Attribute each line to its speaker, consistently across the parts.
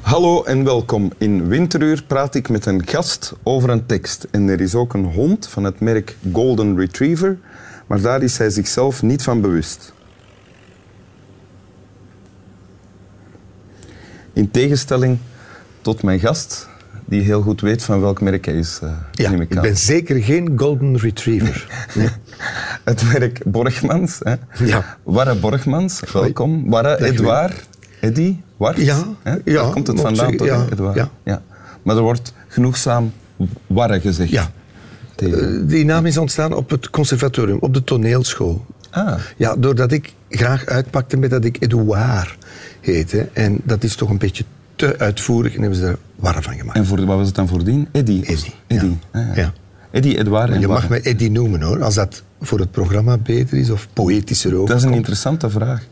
Speaker 1: Hallo en welkom. In Winteruur praat ik met een gast over een tekst. En er is ook een hond van het merk Golden Retriever, maar daar is hij zichzelf niet van bewust. In tegenstelling tot mijn gast, die heel goed weet van welk merk hij is, eh,
Speaker 2: Ja,
Speaker 1: neem
Speaker 2: ik
Speaker 1: ik aan.
Speaker 2: ben zeker geen golden retriever.
Speaker 1: Het merk Borgmans. Hè?
Speaker 2: Ja.
Speaker 1: Warre Borgmans, welkom. Warre,
Speaker 2: Dag,
Speaker 1: Edouard, Eddy, Wart.
Speaker 2: Ja,
Speaker 1: hè?
Speaker 2: ja,
Speaker 1: Daar komt het
Speaker 2: mag
Speaker 1: vandaan,
Speaker 2: ik
Speaker 1: toch?
Speaker 2: zeggen,
Speaker 1: hè,
Speaker 2: ja,
Speaker 1: Edouard?
Speaker 2: ja.
Speaker 1: Maar er wordt genoegzaam Warre gezegd.
Speaker 2: Ja.
Speaker 1: Tegen.
Speaker 2: Eh, Die naam is ontstaan op het conservatorium, op de toneelschool.
Speaker 1: Ah.
Speaker 2: Ja, doordat ik graag uitpakte met dat ik Edouard heette. En dat is toch een beetje te uitvoerig en hebben ze daar warm van gemaakt.
Speaker 1: En voor, wat was het dan voordien? Eddy. of-
Speaker 2: Eddy,
Speaker 1: Eddy.
Speaker 2: ja.
Speaker 1: Ah,
Speaker 2: Ja.
Speaker 1: Eddy, Edouard en
Speaker 2: Je mag
Speaker 1: Warre.
Speaker 2: mij Eddy noemen hoor, als dat voor het programma beter is of poëtischer ook.
Speaker 1: Dat is een interessante vraag.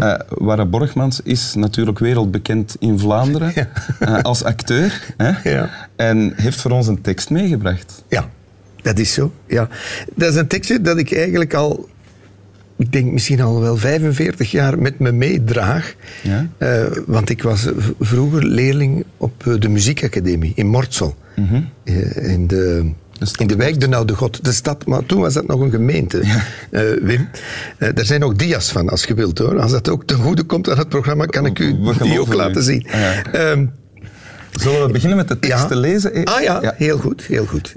Speaker 1: Eh Warre Borgmans is natuurlijk wereldbekend in Vlaanderen
Speaker 2: Ja.
Speaker 1: eh, als acteur. Hè?
Speaker 2: Ja.
Speaker 1: En heeft voor ons een tekst meegebracht.
Speaker 2: Ja, dat is zo. Ja. Dat is een tekstje dat ik eigenlijk al, ik denk misschien al wel 45 jaar met me meedraag.
Speaker 1: Ja.
Speaker 2: Eh, want ik was eh, v- vroeger leerling op eh, de muziekacademie in Mortsel. Eh, in de,
Speaker 1: Mhm. De stad
Speaker 2: in de wijk De Noude God, de stad. Maar toen was dat nog een gemeente, Eh, Wim. Eh, daar zijn ook dia's van, als je wilt hoor. Als dat ook ten goede komt aan het programma, kan ik u
Speaker 1: We
Speaker 2: die
Speaker 1: geloven
Speaker 2: ook
Speaker 1: u.
Speaker 2: laten zien.
Speaker 1: Ja.
Speaker 2: Ehm,
Speaker 1: Zullen we beginnen met de tekst
Speaker 2: ja.
Speaker 1: te lezen? eh?
Speaker 2: Ah ja, heel goed, heel goed.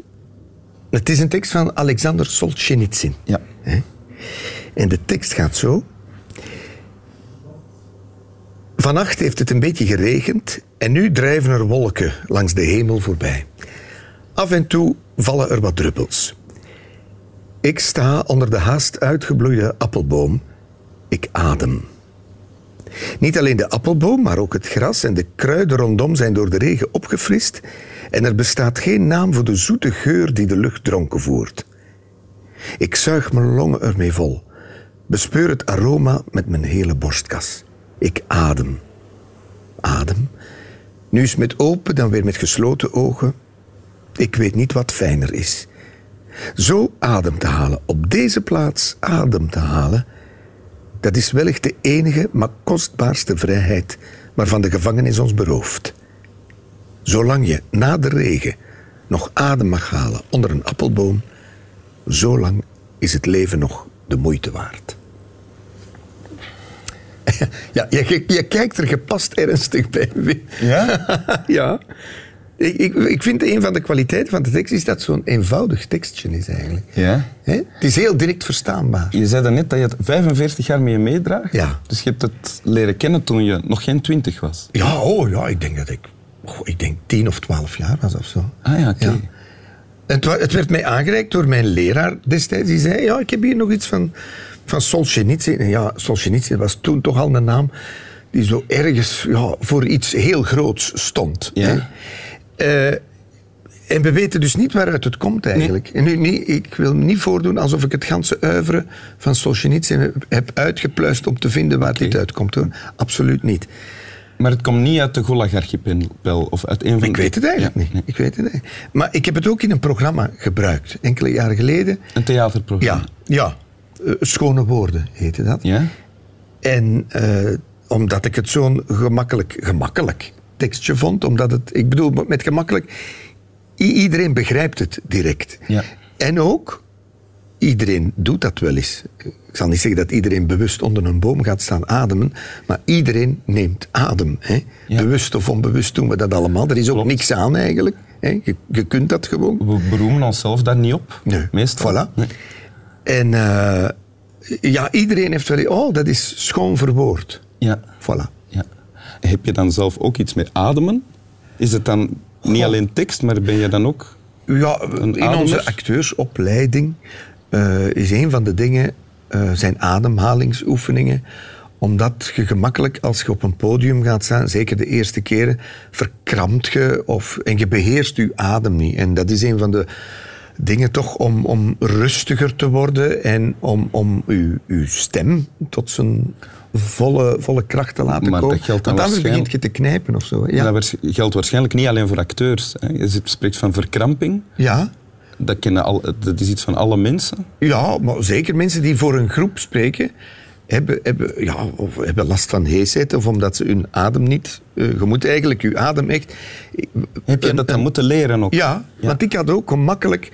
Speaker 2: Het is een tekst van Alexander Solzhenitsyn.
Speaker 1: Ja.
Speaker 2: En de tekst gaat zo. Vannacht heeft het een beetje geregend en nu drijven er wolken langs de hemel voorbij. Af en toe vallen er wat druppels. Ik sta onder de haast uitgebloeide appelboom. Ik adem. Niet alleen de appelboom, maar ook het gras en de kruiden rondom zijn door de regen opgefrist en er bestaat geen naam voor de zoete geur die de lucht dronken voert. Ik zuig mijn longen ermee vol. Bespeur het aroma met mijn hele borstkas. Ik adem. Adem. Nu is met open, dan weer met gesloten ogen. Ik weet niet wat fijner is. Zo adem te halen, op deze plaats adem te halen, dat is wellicht de enige, maar kostbaarste vrijheid waarvan de gevangenis ons berooft. Zolang je na de regen nog adem mag halen onder een appelboom, Zolang is het leven nog de moeite waard. Ja, je, je kijkt er gepast ernstig bij. Wim.
Speaker 1: Ja?
Speaker 2: ja. Ik, ik, ik vind een van de kwaliteiten van de tekst is dat het zo'n eenvoudig tekstje is eigenlijk.
Speaker 1: Ja.
Speaker 2: Hè? Het is heel direct verstaanbaar.
Speaker 1: Je zei net dat je het 45 jaar mee meedraagt.
Speaker 2: Ja.
Speaker 1: Dus je hebt het leren kennen toen je nog geen 20 was.
Speaker 2: Ja, oh ja, ik denk dat ik, goh, ik denk tien of twaalf jaar was of zo.
Speaker 1: Ah ja, oké.
Speaker 2: En het, wa- het werd mij aangereikt door mijn leraar destijds. Die zei, ja, ik heb hier nog iets van, van Solzhenitsyn. En ja, Solzhenitsyn was toen toch al een naam die zo ergens ja, voor iets heel groots stond.
Speaker 1: Ja.
Speaker 2: hè. Eh, en we weten dus niet waaruit het komt eigenlijk. En nu, niet, ik wil niet voordoen alsof ik het ganse uiveren van Solzhenitsyn heb- heb uitgepluist om te vinden waar dit uitkomt. Hoor. Absoluut niet.
Speaker 1: Maar het komt niet uit de Gulag-archipel of uit een van
Speaker 2: Ik weet het eigenlijk
Speaker 1: Ja,
Speaker 2: niet.
Speaker 1: nee.
Speaker 2: Ik weet het eigenlijk. Maar ik heb het ook in een programma gebruikt, enkele jaren geleden.
Speaker 1: Een theaterprogramma.
Speaker 2: Ja, ja. Eh, Schone woorden heette dat.
Speaker 1: Ja?
Speaker 2: En eh, omdat ik het zo'n gemakkelijk, gemakkelijk tekstje vond, omdat het, ik bedoel met gemakkelijk, i- iedereen begrijpt het direct.
Speaker 1: Ja.
Speaker 2: En ook, iedereen doet dat wel eens. Ik zal niet zeggen dat iedereen bewust onder een boom gaat staan ademen, maar iedereen neemt adem. Hè?
Speaker 1: Ja.
Speaker 2: Bewust of onbewust doen we dat allemaal. Er is ook
Speaker 1: Klopt.
Speaker 2: niks aan eigenlijk. Hè? Je, je kunt dat gewoon.
Speaker 1: We beroemen onszelf daar niet op.
Speaker 2: Nee.
Speaker 1: Meestal.
Speaker 2: Voilà.
Speaker 1: Nee.
Speaker 2: En eh, ja, iedereen heeft wel... Oh, dat is schoon verwoord.
Speaker 1: Ja.
Speaker 2: Voilà.
Speaker 1: ja. Heb je dan zelf ook iets met ademen? Is het dan niet alleen tekst, maar ben je dan ook...
Speaker 2: Ja,
Speaker 1: Een
Speaker 2: in
Speaker 1: ademer?
Speaker 2: onze acteursopleiding eh, is een van de dingen eh, zijn ademhalingsoefeningen. Omdat je gemakkelijk, als je op een podium gaat staan, zeker de eerste keren, verkrampt je of, en je beheerst je adem niet. En dat is een van de dingen toch om, om rustiger te worden en om, om uw, uw stem tot zijn volle, volle kracht te laten
Speaker 1: Maar dat
Speaker 2: komen.
Speaker 1: geldt dan
Speaker 2: Want anders begint
Speaker 1: waarschijnlijk-
Speaker 2: je te knijpen of zo. hè?
Speaker 1: Dat
Speaker 2: Ja,
Speaker 1: waars- geldt waarschijnlijk niet alleen voor acteurs. Hè. Je zit- spreekt van verkramping.
Speaker 2: ja.
Speaker 1: Dat, kennen al, dat is iets van alle mensen.
Speaker 2: Ja, maar zeker mensen die voor een groep spreken. hebben, hebben, ja, of hebben last van heesheid of omdat ze hun adem niet... eh, je moet eigenlijk je adem echt...
Speaker 1: Heb je
Speaker 2: een-
Speaker 1: eh, dat
Speaker 2: een-
Speaker 1: dan moeten leren ook?
Speaker 2: Ja, want ik had ook gemakkelijk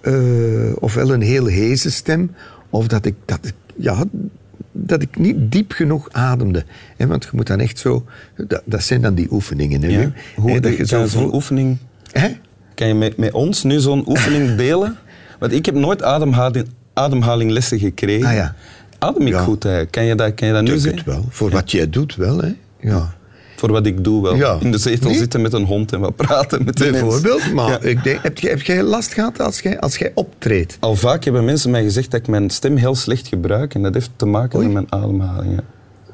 Speaker 2: eh, ofwel een heel heze stem, of dat ik, dat, ik, ja, dat ik niet diep genoeg ademde. Hè, want je moet dan echt zo... Dat, dat zijn dan die oefeningen, hè,
Speaker 1: Ja.
Speaker 2: Wim?
Speaker 1: Hoe
Speaker 2: Hè,
Speaker 1: kan je zo'n
Speaker 2: voelt-
Speaker 1: oefening...
Speaker 2: Hè?
Speaker 1: Kan je met, met ons nu zo'n oefening delen? Want ik heb nooit ademhaling, ademhalinglessen gekregen.
Speaker 2: Ah, ja.
Speaker 1: Adem ik
Speaker 2: Ja.
Speaker 1: goed eigenlijk? Kan je dat, kan je dat nu
Speaker 2: Ik
Speaker 1: zien?
Speaker 2: het wel. Voor wat jij doet wel, hè. Ja.
Speaker 1: Voor wat ik doe wel.
Speaker 2: Ja.
Speaker 1: In de zetel
Speaker 2: Nee?
Speaker 1: zitten met een hond en wat praten met de mens.
Speaker 2: Bijvoorbeeld, maar
Speaker 1: Ja.
Speaker 2: ik denk, heb, jij, heb jij last gehad als jij, als jij optreedt?
Speaker 1: Al vaak hebben mensen mij gezegd dat ik mijn stem heel slecht gebruik. En dat heeft te maken met mijn ademhaling. ja.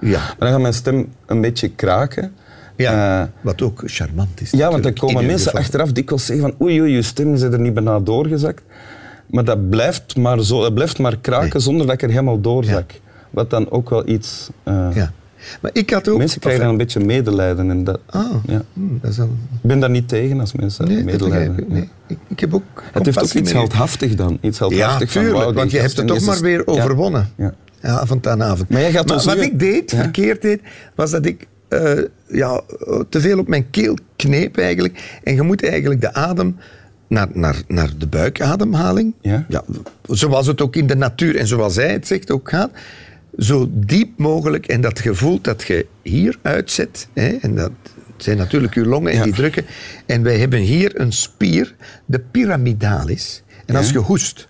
Speaker 2: Ja.
Speaker 1: Maar dan gaat mijn stem een beetje kraken.
Speaker 2: ja.
Speaker 1: Eh,
Speaker 2: wat ook charmant is.
Speaker 1: ja, want dan
Speaker 2: natuurlijk, in
Speaker 1: komen
Speaker 2: ieder
Speaker 1: mensen
Speaker 2: geval.
Speaker 1: achteraf dikwijls zeggen van oei, oei, je stem is er niet bijna doorgezakt. Maar dat blijft maar, zo, dat blijft maar kraken zonder dat ik er helemaal doorzak. Wat dan ook wel iets... eh,
Speaker 2: Ja. Maar ik had ook...
Speaker 1: Mensen krijgen dan een beetje medelijden. En dat,
Speaker 2: Ah,
Speaker 1: ja.
Speaker 2: hmm, dat is dan
Speaker 1: Ik ben daar niet tegen als mensen
Speaker 2: Nee, dat
Speaker 1: medelijden
Speaker 2: begrijp ik.
Speaker 1: hebben.
Speaker 2: Nee. Ik, ik heb ook
Speaker 1: Het heeft ook
Speaker 2: compassie
Speaker 1: iets
Speaker 2: met u.
Speaker 1: heldhaftig dan. Iets
Speaker 2: Ja,
Speaker 1: heldhaftig van,
Speaker 2: tuurlijk,
Speaker 1: wauw, die
Speaker 2: want je hebt
Speaker 1: gast
Speaker 2: het
Speaker 1: en
Speaker 2: toch
Speaker 1: die
Speaker 2: maar
Speaker 1: is-
Speaker 2: weer
Speaker 1: Ja.
Speaker 2: overwonnen. Ja.
Speaker 1: Ja.
Speaker 2: avond aan avond.
Speaker 1: Maar jij gaat ons
Speaker 2: wat
Speaker 1: nu-
Speaker 2: ik deed,
Speaker 1: Ja.
Speaker 2: verkeerd deed, was dat ik eh, ja, te veel op mijn keel kneep eigenlijk. En je moet eigenlijk de adem naar, naar, naar de buikademhaling,
Speaker 1: Ja.
Speaker 2: zoals het ook in de natuur en zoals hij het zegt ook gaat, zo diep mogelijk en dat gevoel dat je hier uitzet, hè, en dat zijn natuurlijk uw longen en
Speaker 1: Ja.
Speaker 2: die drukken, en wij hebben hier een spier, de pyramidalis. En als je hoest,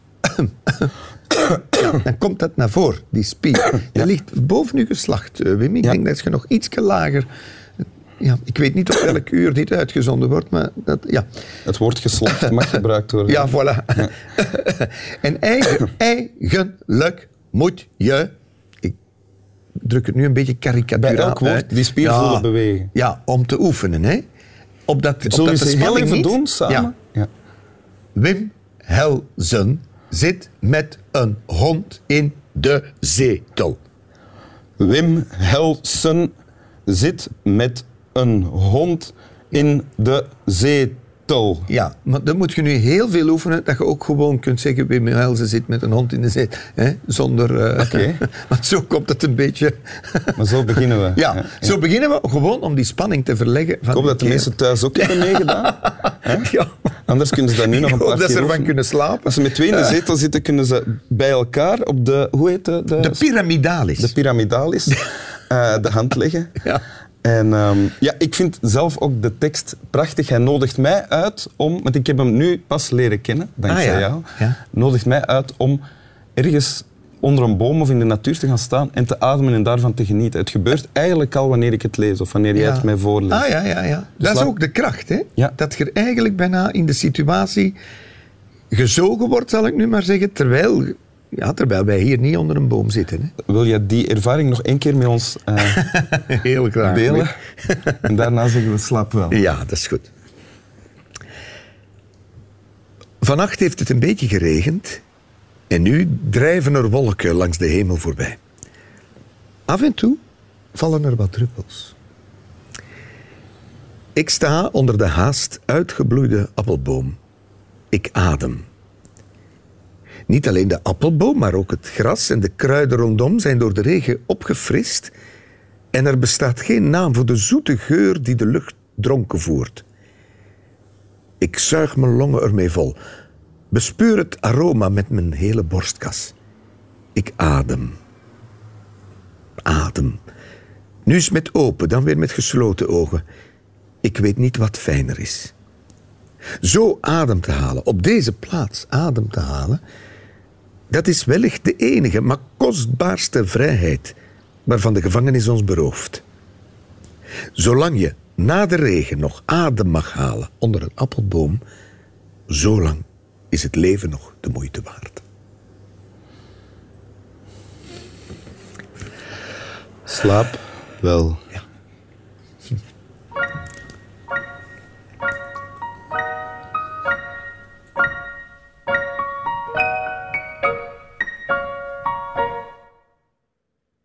Speaker 2: ja, dan komt dat naar voren, die spier. Dat ligt boven uw geslacht, eh, Wim. Ik
Speaker 1: Ja.
Speaker 2: denk dat je nog iets lager... Ja, ik weet niet op welk uur dit uitgezonden wordt, maar dat, ja.
Speaker 1: Het woord geslacht mag gebruikt worden.
Speaker 2: Ja, voilà. en eigen, eigenlijk moet je... Ik druk het nu een beetje karikaturaal
Speaker 1: Bij elk woord
Speaker 2: uit.
Speaker 1: die spier voelen bewegen.
Speaker 2: Ja, om te oefenen, hè. Op dat, op
Speaker 1: Zullen
Speaker 2: dat
Speaker 1: we
Speaker 2: de
Speaker 1: ze heel
Speaker 2: spanning
Speaker 1: even
Speaker 2: niet-
Speaker 1: doen samen?
Speaker 2: Ja. Wim Helzen zit met een hond in de zetel.
Speaker 1: Wim Helsen zit met een hond in de zetel.
Speaker 2: Ja, maar dan moet je nu heel veel oefenen dat je ook gewoon kunt zeggen: Wim Helzen zit met een hond in de zetel. Hè? Zonder. eh,
Speaker 1: Oké.
Speaker 2: want zo komt het een beetje.
Speaker 1: Maar zo beginnen we.
Speaker 2: ja, zo beginnen we gewoon om die spanning te verleggen. Van
Speaker 1: Ik hoop dat de mensen thuis ook hebben meegedaan.
Speaker 2: Ja.
Speaker 1: Anders kunnen ze dat nu nog
Speaker 2: Ik
Speaker 1: een
Speaker 2: hoop
Speaker 1: paar keer
Speaker 2: dat ze ervan
Speaker 1: oefenen.
Speaker 2: kunnen slapen.
Speaker 1: Als ze met twee in de zetel zitten, kunnen ze bij elkaar op de... Hoe heet de?
Speaker 2: De pyramidalis.
Speaker 1: de piramidalis, eh, de hand leggen.
Speaker 2: Ja.
Speaker 1: En ehm, ja, ik vind zelf ook de tekst prachtig. Hij nodigt mij uit om, want ik heb hem nu pas leren kennen, dankzij
Speaker 2: Ah, ja.
Speaker 1: jou.
Speaker 2: Ja.
Speaker 1: Nodigt mij uit om ergens onder een boom of in de natuur te gaan staan en te ademen en daarvan te genieten. Het gebeurt eigenlijk al wanneer ik het lees of wanneer jij
Speaker 2: Ja.
Speaker 1: het mij voorleest.
Speaker 2: Ah ja, ja, ja. dat is
Speaker 1: laat-
Speaker 2: ook de kracht, hè?
Speaker 1: Ja.
Speaker 2: Dat je eigenlijk bijna in de situatie gezogen wordt, zal ik nu maar zeggen, terwijl, ja, terwijl wij hier niet onder een boom zitten.
Speaker 1: Wil je die ervaring nog één keer met ons eh,
Speaker 2: Hè? Heel graag.
Speaker 1: delen? en daarna zeggen we slaap wel.
Speaker 2: Ja, dat is goed. Vannacht heeft het een beetje geregend en nu drijven er wolken langs de hemel voorbij. Af en toe vallen er wat druppels. Ik sta onder de haast uitgebloeide appelboom. Ik adem. Niet alleen de appelboom, maar ook het gras en de kruiden rondom zijn door de regen opgefrist en er bestaat geen naam voor de zoete geur die de lucht dronken voert. Ik zuig mijn longen ermee vol, bespeur het aroma met mijn hele borstkas. Ik adem. Adem. Nu is met open, dan weer met gesloten ogen. Ik weet niet wat fijner is. Zo adem te halen, op deze plaats adem te halen, dat is wellicht de enige, maar kostbaarste vrijheid waarvan de gevangenis ons berooft. Zolang je na de regen nog adem mag halen onder een appelboom, zolang is het leven nog de moeite waard.
Speaker 1: Slaap wel.